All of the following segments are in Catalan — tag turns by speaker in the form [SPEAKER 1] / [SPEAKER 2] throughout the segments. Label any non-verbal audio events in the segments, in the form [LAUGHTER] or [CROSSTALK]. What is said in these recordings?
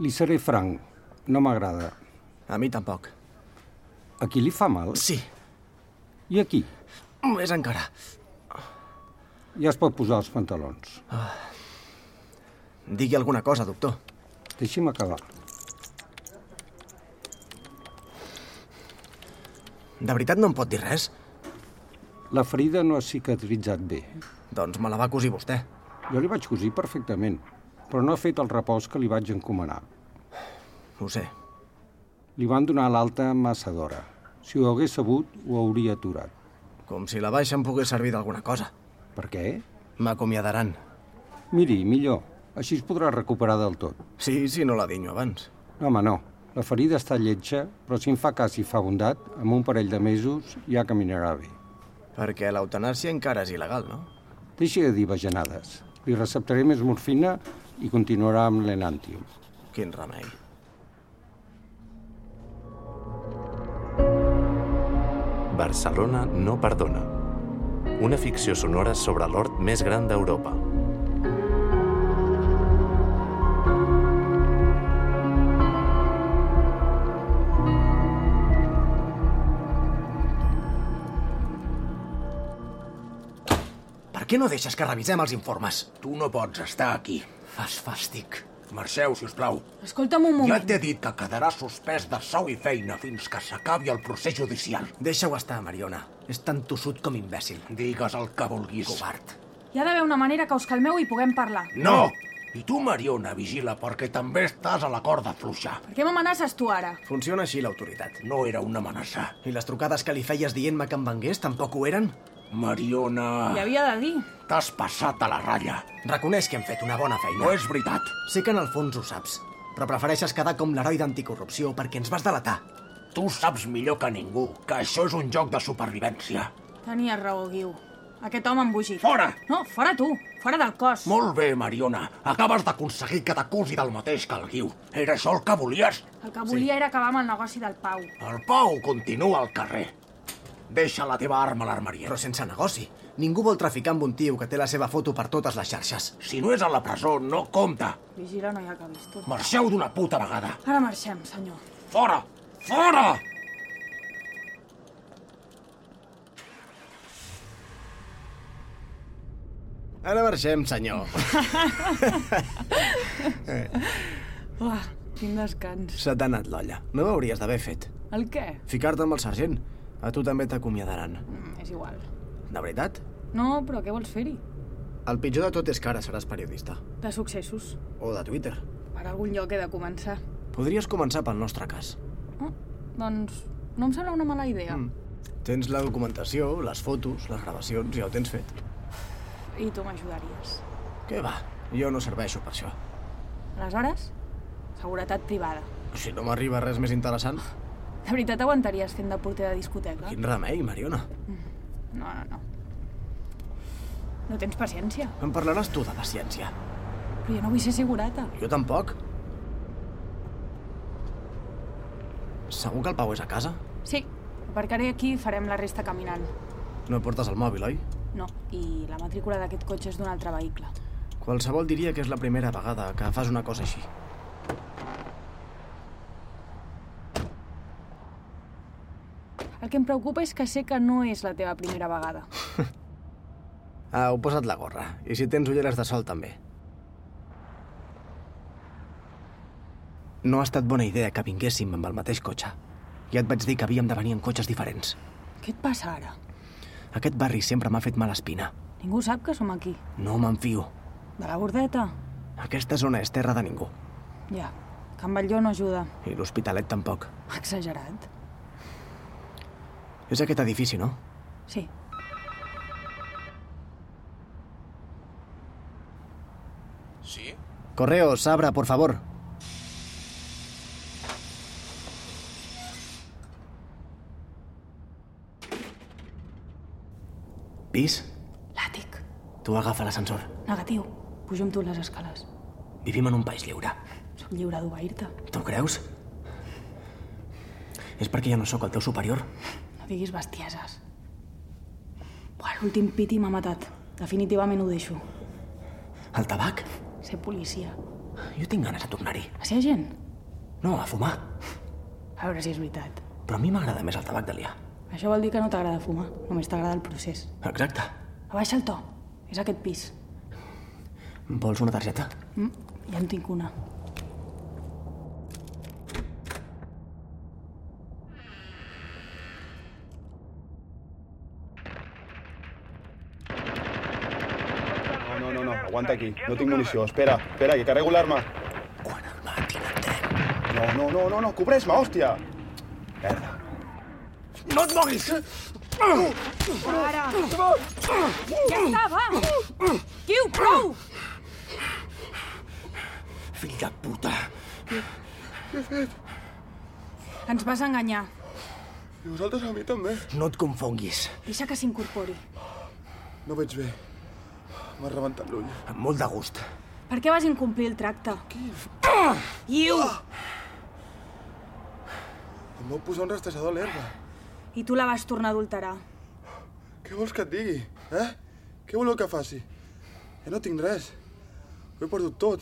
[SPEAKER 1] Li seré franc. No m'agrada.
[SPEAKER 2] A mi tampoc.
[SPEAKER 1] A qui li fa mal?
[SPEAKER 2] Sí,
[SPEAKER 1] I a qui?
[SPEAKER 2] més encara.
[SPEAKER 1] Ja es pot posar els pantalons.
[SPEAKER 2] Digui alguna cosa, doctor.
[SPEAKER 1] Deixi'm acabar.
[SPEAKER 2] De veritat no em pot dir res?
[SPEAKER 1] La ferida no ha cicatritzat bé.
[SPEAKER 2] Doncs me la va cosir vostè.
[SPEAKER 1] Jo li vaig cosir perfectament, però no ha fet el repòs que li vaig encomanar.
[SPEAKER 2] Ho sé.
[SPEAKER 1] Li van donar l'alta massa d'hora. Si ho hagués sabut, ho hauria aturat.
[SPEAKER 2] Com si la baixa em pogués servir d'alguna cosa.
[SPEAKER 1] Per què?
[SPEAKER 2] M'acomiadaran.
[SPEAKER 1] Miri, millor. Així es podrà recuperar del tot.
[SPEAKER 2] Sí, si no la dinyo abans.
[SPEAKER 1] No, home, no. La ferida està lletja, però si en fa cas i fa bondat, amb un parell de mesos ja caminarà bé.
[SPEAKER 2] Perquè l'eutanàsia encara és il·legal, no?
[SPEAKER 1] Deixi de dir bajanades. Li receptaré més morfina i continuarà amb l'enantium.
[SPEAKER 2] Quin remei.
[SPEAKER 3] Barcelona no perdona. Una ficció sonora sobre l'hort més gran d'Europa.
[SPEAKER 2] Per què no deixes que revisem els informes?
[SPEAKER 4] Tu no pots estar aquí.
[SPEAKER 2] Fas fàstic.
[SPEAKER 4] Marxeu, si us plau.
[SPEAKER 5] Escolta'm un
[SPEAKER 4] Ja
[SPEAKER 5] moment.
[SPEAKER 4] t'he dit que quedarà suspès de sou i feina fins que s'acabi el procés judicial.
[SPEAKER 2] Deixa-ho estar, Mariona. És tan tossut com imbècil.
[SPEAKER 4] Digues el que vulguis.
[SPEAKER 2] Covard.
[SPEAKER 5] Hi ha d'haver una manera que us calmeu i puguem parlar.
[SPEAKER 4] No! I tu, Mariona, vigila, perquè també estàs a la corda fluixa.
[SPEAKER 5] Per què m'amenaces tu ara?
[SPEAKER 2] Funciona així l'autoritat.
[SPEAKER 4] No era una amenaça.
[SPEAKER 2] I les trucades que li feies dient-me que em vengués tampoc ho eren?
[SPEAKER 5] Li
[SPEAKER 4] Mariona,
[SPEAKER 5] havia de dir.
[SPEAKER 4] t'has passat a la ratlla.
[SPEAKER 2] Reconeix que hem fet una bona feina.
[SPEAKER 4] No és veritat.
[SPEAKER 2] Sé que en el fons ho saps, però prefereixes quedar com l'heroi d'anticorrupció perquè ens vas delatar.
[SPEAKER 4] Tu saps millor que ningú que això és un joc de supervivència.
[SPEAKER 5] Tenies raó, Guiu. Aquest home embogit.
[SPEAKER 4] Fora!
[SPEAKER 5] No, fora tu. Fora del cos.
[SPEAKER 4] Molt bé, Mariona. Acabes d'aconseguir que t'acusi del mateix que el Guiu. Era això el que volies?
[SPEAKER 5] El que volia era acabar amb el negoci del Pau.
[SPEAKER 4] El Pau continua al carrer. Deixa la teva arma a l'armeria.
[SPEAKER 2] Però sense negoci. Ningú vol traficar amb un tio que té la seva foto per totes les xarxes.
[SPEAKER 4] Si no és a la presó, no compta.
[SPEAKER 5] Vigila, no hi ha que visto.
[SPEAKER 4] Marxeu d'una puta vegada.
[SPEAKER 5] Ara marxem, senyor.
[SPEAKER 4] Fora! Fora!
[SPEAKER 2] Ara marxem, senyor.
[SPEAKER 5] Uah, quin descans.
[SPEAKER 2] Se t'ha anat l'olla. No ho hauries d'haver fet.
[SPEAKER 5] El què?
[SPEAKER 2] Ficar-te amb el sergent. A tu també t'acomiadaran.
[SPEAKER 5] Mm, és igual.
[SPEAKER 2] De veritat?
[SPEAKER 5] No, però què vols fer-hi?
[SPEAKER 2] El pitjor de tot és que ara seràs periodista.
[SPEAKER 5] De successos.
[SPEAKER 2] O de Twitter.
[SPEAKER 5] Per algun lloc he de començar.
[SPEAKER 2] Podries començar pel nostre cas.
[SPEAKER 5] Oh, doncs no em sembla una mala idea.
[SPEAKER 2] Tens la documentació, les fotos, les gravacions, ja ho tens fet.
[SPEAKER 5] I tu m'ajudaries.
[SPEAKER 2] Què va? Jo no serveixo per això.
[SPEAKER 5] Aleshores, seguretat privada.
[SPEAKER 2] Si no m'arriba res més interessant,
[SPEAKER 5] De veritat aguantaries fent de porter de discoteca?
[SPEAKER 2] quin remei, Mariona.
[SPEAKER 5] No, no, no. No tens paciència,
[SPEAKER 2] Em parlaràs tu de paciència.
[SPEAKER 5] però jo no vull ser segurata.
[SPEAKER 2] Jo tampoc. Segur que el Pau és a casa?
[SPEAKER 5] Sí, aparcaré aquí i farem la resta caminant.
[SPEAKER 2] No portes el mòbil, oi?
[SPEAKER 5] No, i la matrícula d'aquest cotxe és d'un altre vehicle.
[SPEAKER 2] Qualsevol diria que és la primera vegada que fas una cosa així.
[SPEAKER 5] El que em preocupa és que sé que no és la teva primera vegada.
[SPEAKER 2] Ah, heu posat la gorra. I si tens ulleres de sol, també. No ha estat bona idea que vinguéssim amb el mateix cotxe. Ja et vaig dir que havíem de venir en cotxes diferents.
[SPEAKER 5] Què et passa ara?
[SPEAKER 2] Aquest barri sempre m'ha fet mala espina.
[SPEAKER 5] Ningú sap que som aquí.
[SPEAKER 2] No m'enfio.
[SPEAKER 5] De la bordeta?
[SPEAKER 2] Aquesta zona és terra de ningú.
[SPEAKER 5] Ja. Can Batlló no ajuda.
[SPEAKER 2] I l'Hospitalet tampoc.
[SPEAKER 5] Exagerat.
[SPEAKER 2] És aquest edifici, no?
[SPEAKER 5] Sí.
[SPEAKER 6] Sí?
[SPEAKER 2] Correos, abra, por favor. Pis,
[SPEAKER 5] L'àtic.
[SPEAKER 2] tu agafa l'ascensor.
[SPEAKER 5] Negatiu. Pujo amb tu les escales.
[SPEAKER 2] Vivim en un país lliure.
[SPEAKER 5] Soc lliure d'obeir-te.
[SPEAKER 2] Tu creus? És perquè ja no sóc el teu superior.
[SPEAKER 5] No diguis bestieses. Buah, l'últim piti m'ha matat. Definitivament ho deixo.
[SPEAKER 2] El tabac?
[SPEAKER 5] Ser policia.
[SPEAKER 2] Jo tinc ganes de tornar-hi.
[SPEAKER 5] A ser gent?
[SPEAKER 2] No, a fumar.
[SPEAKER 5] A veure si és veritat.
[SPEAKER 2] Però a mi m'agrada més el tabac de liar.
[SPEAKER 5] Això vol dir que no t'agrada fumar, només t'agrada el procés.
[SPEAKER 2] Exacte.
[SPEAKER 5] Abaixa el to. És aquest pis.
[SPEAKER 2] Vols una targeta?
[SPEAKER 5] Mm? Ja en tinc una.
[SPEAKER 7] No, no, no, no, aguanta aquí. No tinc munició. Espera, espera, que carrego l'arma.
[SPEAKER 2] Quan el mati l'entenc.
[SPEAKER 7] No, no, no, no, no, cobreix-me, hòstia! Merda.
[SPEAKER 4] No et moguis!
[SPEAKER 5] Ara! Ja està, va! Quiu, prou!
[SPEAKER 4] Fill de puta!
[SPEAKER 5] Ens vas enganyar.
[SPEAKER 7] I vosaltres a mi també.
[SPEAKER 2] No et confonguis.
[SPEAKER 5] Deixa que s'incorpori.
[SPEAKER 7] No veig bé. M'ha rebentat l'ull.
[SPEAKER 2] Amb molt de gust.
[SPEAKER 5] Per què vas incomplir el tracte? Iu!
[SPEAKER 7] Em vau posar un rastejador a l'herba.
[SPEAKER 5] I tu la vas tornar a adulterar.
[SPEAKER 7] Què vols que et digui, eh? Què voleu que faci? Ja no tinc res. Ho he perdut tot.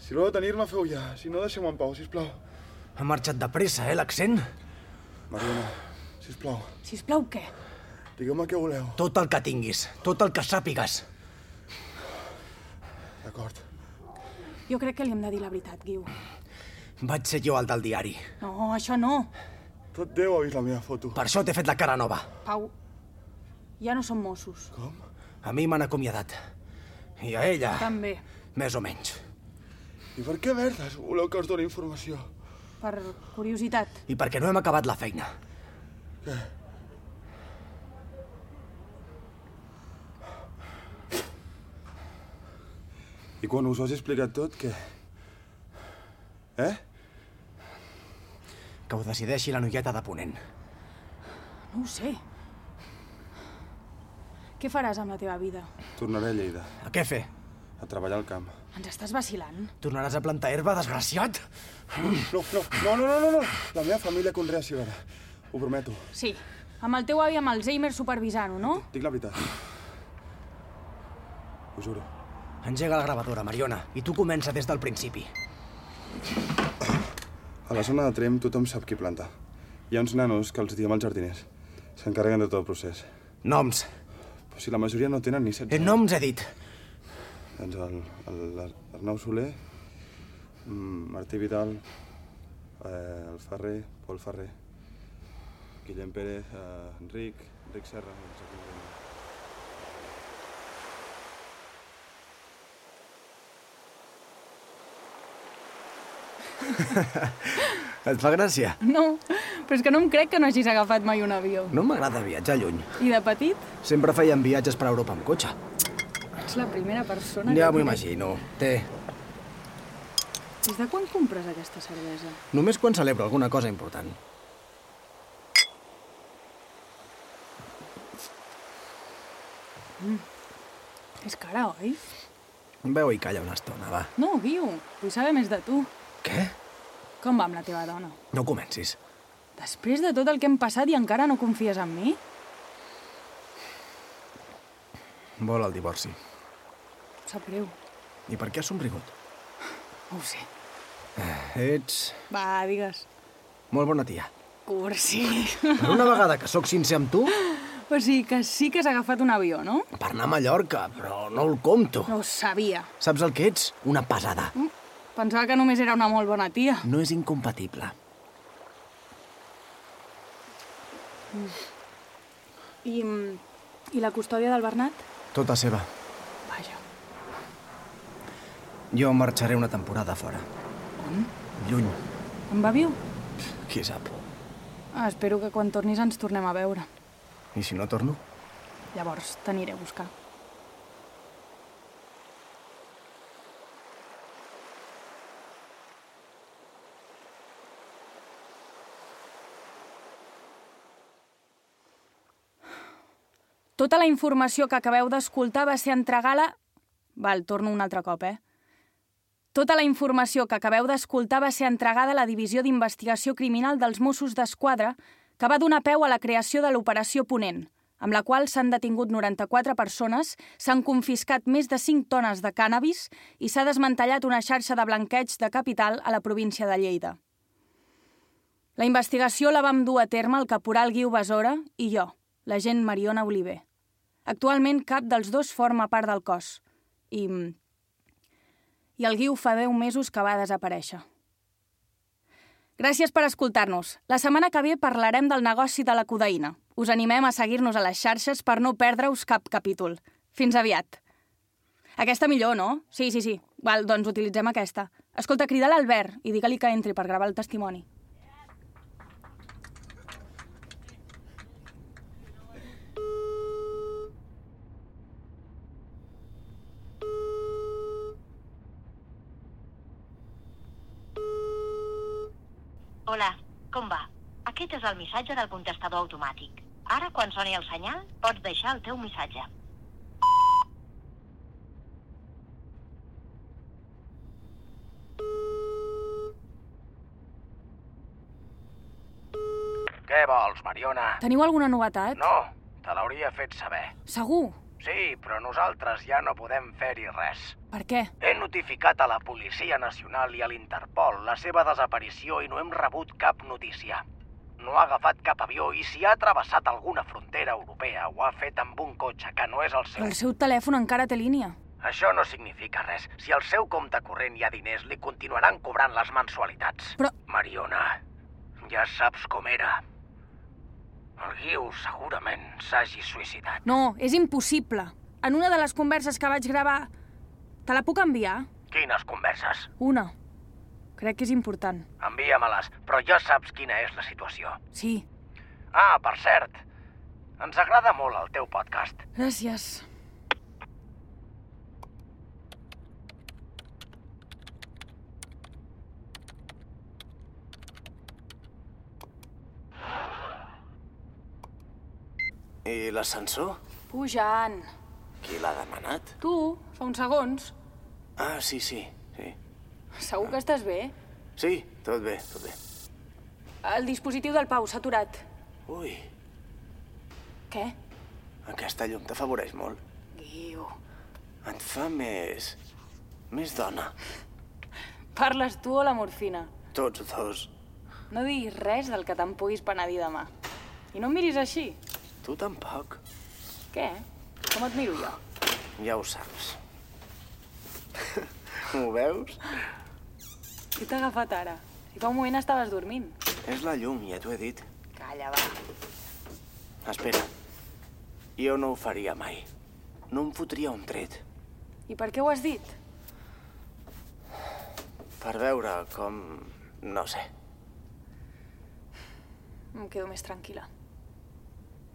[SPEAKER 7] Si voleu tenir-me, feu ja. Si no, deixeu-me en pau, sisplau.
[SPEAKER 2] Ha marxat de pressa, eh, l'accent?
[SPEAKER 7] Mariona, sisplau,
[SPEAKER 5] Sisplau, què?
[SPEAKER 7] digueu-me què voleu.
[SPEAKER 2] Tot el que tinguis, tot el que sàpigues.
[SPEAKER 7] D'acord.
[SPEAKER 5] Jo crec que li hem de dir la veritat, Guiu.
[SPEAKER 2] Vaig ser jo el del diari.
[SPEAKER 5] No, això no.
[SPEAKER 7] Tot Déu ha vist la meva foto.
[SPEAKER 2] Per això t'he fet la cara nova.
[SPEAKER 5] Pau, ja no som Mossos.
[SPEAKER 7] Com?
[SPEAKER 2] A mi m'han acomiadat. I a ella,
[SPEAKER 5] També.
[SPEAKER 2] més o menys.
[SPEAKER 7] I per què merdes voleu que us doni informació?
[SPEAKER 5] Per curiositat.
[SPEAKER 2] I perquè no hem acabat la feina.
[SPEAKER 7] I quan us ho has explicat tot, què? Eh?
[SPEAKER 2] Que ho decideixi la noieta de Ponent.
[SPEAKER 5] No ho sé. Què faràs amb la teva vida?
[SPEAKER 7] Tornaré a Lleida,
[SPEAKER 2] A què fer?
[SPEAKER 7] a treballar al camp.
[SPEAKER 5] Ens estàs vacilant?
[SPEAKER 2] Tornaràs a plantar herba, desgraciat?
[SPEAKER 7] No, no, no, no, no, no, no. La meva família conrea cibera. Ho prometo.
[SPEAKER 5] Sí. Amb el teu avi amb Alzheimer supervisant-ho, no?
[SPEAKER 7] Dic la veritat. Ho juro.
[SPEAKER 2] Engega la gravadora, Mariona, i tu comença des del principi.
[SPEAKER 7] A la zona de Trem tothom sap qui planta. Hi ha uns nanos que els diem els jardiners. S'encarreguen de tot el procés.
[SPEAKER 2] Noms.
[SPEAKER 7] Però si la majoria no tenen ni 16
[SPEAKER 2] Eh, noms he dit.
[SPEAKER 7] Doncs el, el, l'Arnau Soler, mm, Martí Vidal, eh, el Ferrer, Pol Ferrer, Guillem Pérez, eh, Enric, Enric Serra... no sé qui més.
[SPEAKER 2] Et fa gràcia?
[SPEAKER 5] No, però és que no em crec que no hagis agafat mai un avió.
[SPEAKER 2] No m'agrada viatjar lluny.
[SPEAKER 5] I de petit?
[SPEAKER 2] Sempre feien viatges per Europa amb cotxe.
[SPEAKER 5] Ets la primera persona
[SPEAKER 2] Ja
[SPEAKER 5] que...
[SPEAKER 2] m'ho imagino. Té.
[SPEAKER 5] Des de quan compres aquesta cervesa?
[SPEAKER 2] Només quan celebro alguna cosa important.
[SPEAKER 5] És cara, oi?
[SPEAKER 2] Veu i calla una estona, va.
[SPEAKER 5] No, Guiu, vull saber més de tu.
[SPEAKER 2] Què?
[SPEAKER 5] Com va amb la teva dona?
[SPEAKER 2] No comencis.
[SPEAKER 5] Després de tot el que hem passat i encara no confies en mi?
[SPEAKER 2] Vol el divorci.
[SPEAKER 5] Em sap greu.
[SPEAKER 2] I per què has somrigut?
[SPEAKER 5] No ho sé.
[SPEAKER 2] Ets
[SPEAKER 5] Va, digues.
[SPEAKER 2] molt bona tia.
[SPEAKER 5] Cursi.
[SPEAKER 2] Per una vegada que sóc sincer amb tu,
[SPEAKER 5] o sigui que sí que has agafat un avió, no?
[SPEAKER 2] per anar a Mallorca, però no el compto.
[SPEAKER 5] No ho sabia.
[SPEAKER 2] Saps el que ets? Una pesada.
[SPEAKER 5] Mm, Pensava que només era una molt bona tia.
[SPEAKER 2] No és incompatible.
[SPEAKER 5] I, i la custòdia del Bernat?
[SPEAKER 2] Tota seva.
[SPEAKER 5] Vaja.
[SPEAKER 2] Jo marxaré una temporada fora.
[SPEAKER 5] On?
[SPEAKER 2] Mm? Lluny.
[SPEAKER 5] En va viu?
[SPEAKER 2] Qui sap?
[SPEAKER 5] Ah, espero que quan tornis ens tornem a veure.
[SPEAKER 2] I si no torno?
[SPEAKER 5] Llavors t'aniré a buscar. Tota la informació que acabeu d'escoltar va ser entregada... Val, torno un altre cop, eh? Tota la informació que acabeu d'escoltar va ser entregada a la Divisió d'Investigació Criminal dels Mossos d'Esquadra, que va donar peu a la creació de l'Operació Ponent, amb la qual s'han detingut 94 persones, s'han confiscat més de 5 tones de cànnabis i s'ha desmantellat una xarxa de blanqueig de capital a la província de Lleida. La investigació la vam dur a terme el caporal Guiu Besora i jo, l'agent Mariona Oliver. Actualment cap dels dos forma part del cos i... mm, i el Guiu fa 10 mesos que va desaparèixer. Gràcies per escoltar-nos. La setmana que ve parlarem del negoci de la codeïna. Us animem a seguir-nos a les xarxes per no perdre-us cap capítol. Fins aviat. Aquesta millor, no? Sí, sí, sí. Val, doncs utilitzem aquesta. Escolta, crida l'Albert i digue-li que entri per gravar el testimoni.
[SPEAKER 8] Hola, com va? Aquest és el missatge del contestador automàtic. Ara, quan soni el senyal, pots deixar el teu missatge.
[SPEAKER 4] Què vols, Mariona?
[SPEAKER 5] Teniu alguna novetat?
[SPEAKER 4] No, te l'hauria fet saber.
[SPEAKER 5] Segur?
[SPEAKER 4] Sí, però nosaltres ja no podem fer-hi res.
[SPEAKER 5] Per què?
[SPEAKER 4] He notificat a la Policia Nacional i a l'Interpol la seva desaparició i no hem rebut cap notícia. No ha agafat cap avió i si ha travessat alguna frontera europea ho ha fet amb un cotxe que no és el seu.
[SPEAKER 5] Però el seu telèfon encara té línia.
[SPEAKER 4] Això no significa res. Si al seu compte corrent hi ha diners, li continuaran cobrant les mensualitats.
[SPEAKER 5] Però-
[SPEAKER 4] Mariona, ja saps com era. El Guiu segurament s'hagi suïcidat.
[SPEAKER 5] No, és impossible. En una de les converses que vaig gravar... Te la puc enviar?
[SPEAKER 4] Quines converses?
[SPEAKER 5] Una. Crec que és important.
[SPEAKER 4] Envia-me-les, però ja saps quina és la situació.
[SPEAKER 5] Sí,
[SPEAKER 4] Ah, per cert, ens agrada molt el teu podcast.
[SPEAKER 5] gràcies.
[SPEAKER 2] I l'ascensor?
[SPEAKER 5] Pujant.
[SPEAKER 2] Qui l'ha demanat?
[SPEAKER 5] Tu, fa uns segons.
[SPEAKER 2] Ah, sí, sí, sí.
[SPEAKER 5] Segur que estàs bé?
[SPEAKER 2] Sí, tot bé, tot bé.
[SPEAKER 5] El dispositiu del Pau s'ha aturat.
[SPEAKER 2] Ui,
[SPEAKER 5] Què?
[SPEAKER 2] aquesta llum t'afavoreix molt.
[SPEAKER 5] Guiu.
[SPEAKER 2] Et fa més... més dona.
[SPEAKER 5] Parles tu o la morfina?
[SPEAKER 2] Tots dos.
[SPEAKER 5] No diguis res del que te'n puguis penedir demà. I no em miris així.
[SPEAKER 2] Tu tampoc.
[SPEAKER 5] Què? Com et miro jo?
[SPEAKER 2] Ja ho saps. [LAUGHS] Ho veus?
[SPEAKER 5] Qui t'ha agafat ara? Si fa un moment estaves dormint.
[SPEAKER 2] És la llum, ja t'ho he dit.
[SPEAKER 5] Calla, va.
[SPEAKER 2] Espera. Jo no ho faria mai. No em fotria un tret.
[SPEAKER 5] I per què ho has dit?
[SPEAKER 2] Per veure com... no sé.
[SPEAKER 5] Em quedo més tranquil·la.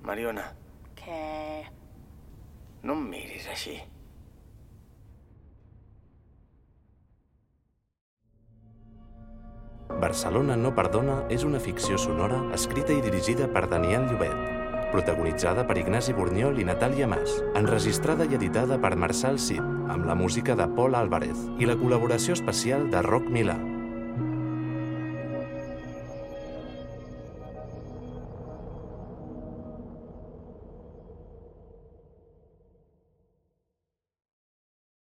[SPEAKER 2] Mariona,
[SPEAKER 5] Què?
[SPEAKER 2] no em miris així.
[SPEAKER 3] Barcelona no perdona és una ficció sonora escrita i dirigida per Daniel Llobet, protagonitzada per Ignasi Borniol i Natàlia Mas, enregistrada i editada per Marçal Cid, amb la música de Paul Álvarez i la col·laboració especial de Roc Milà.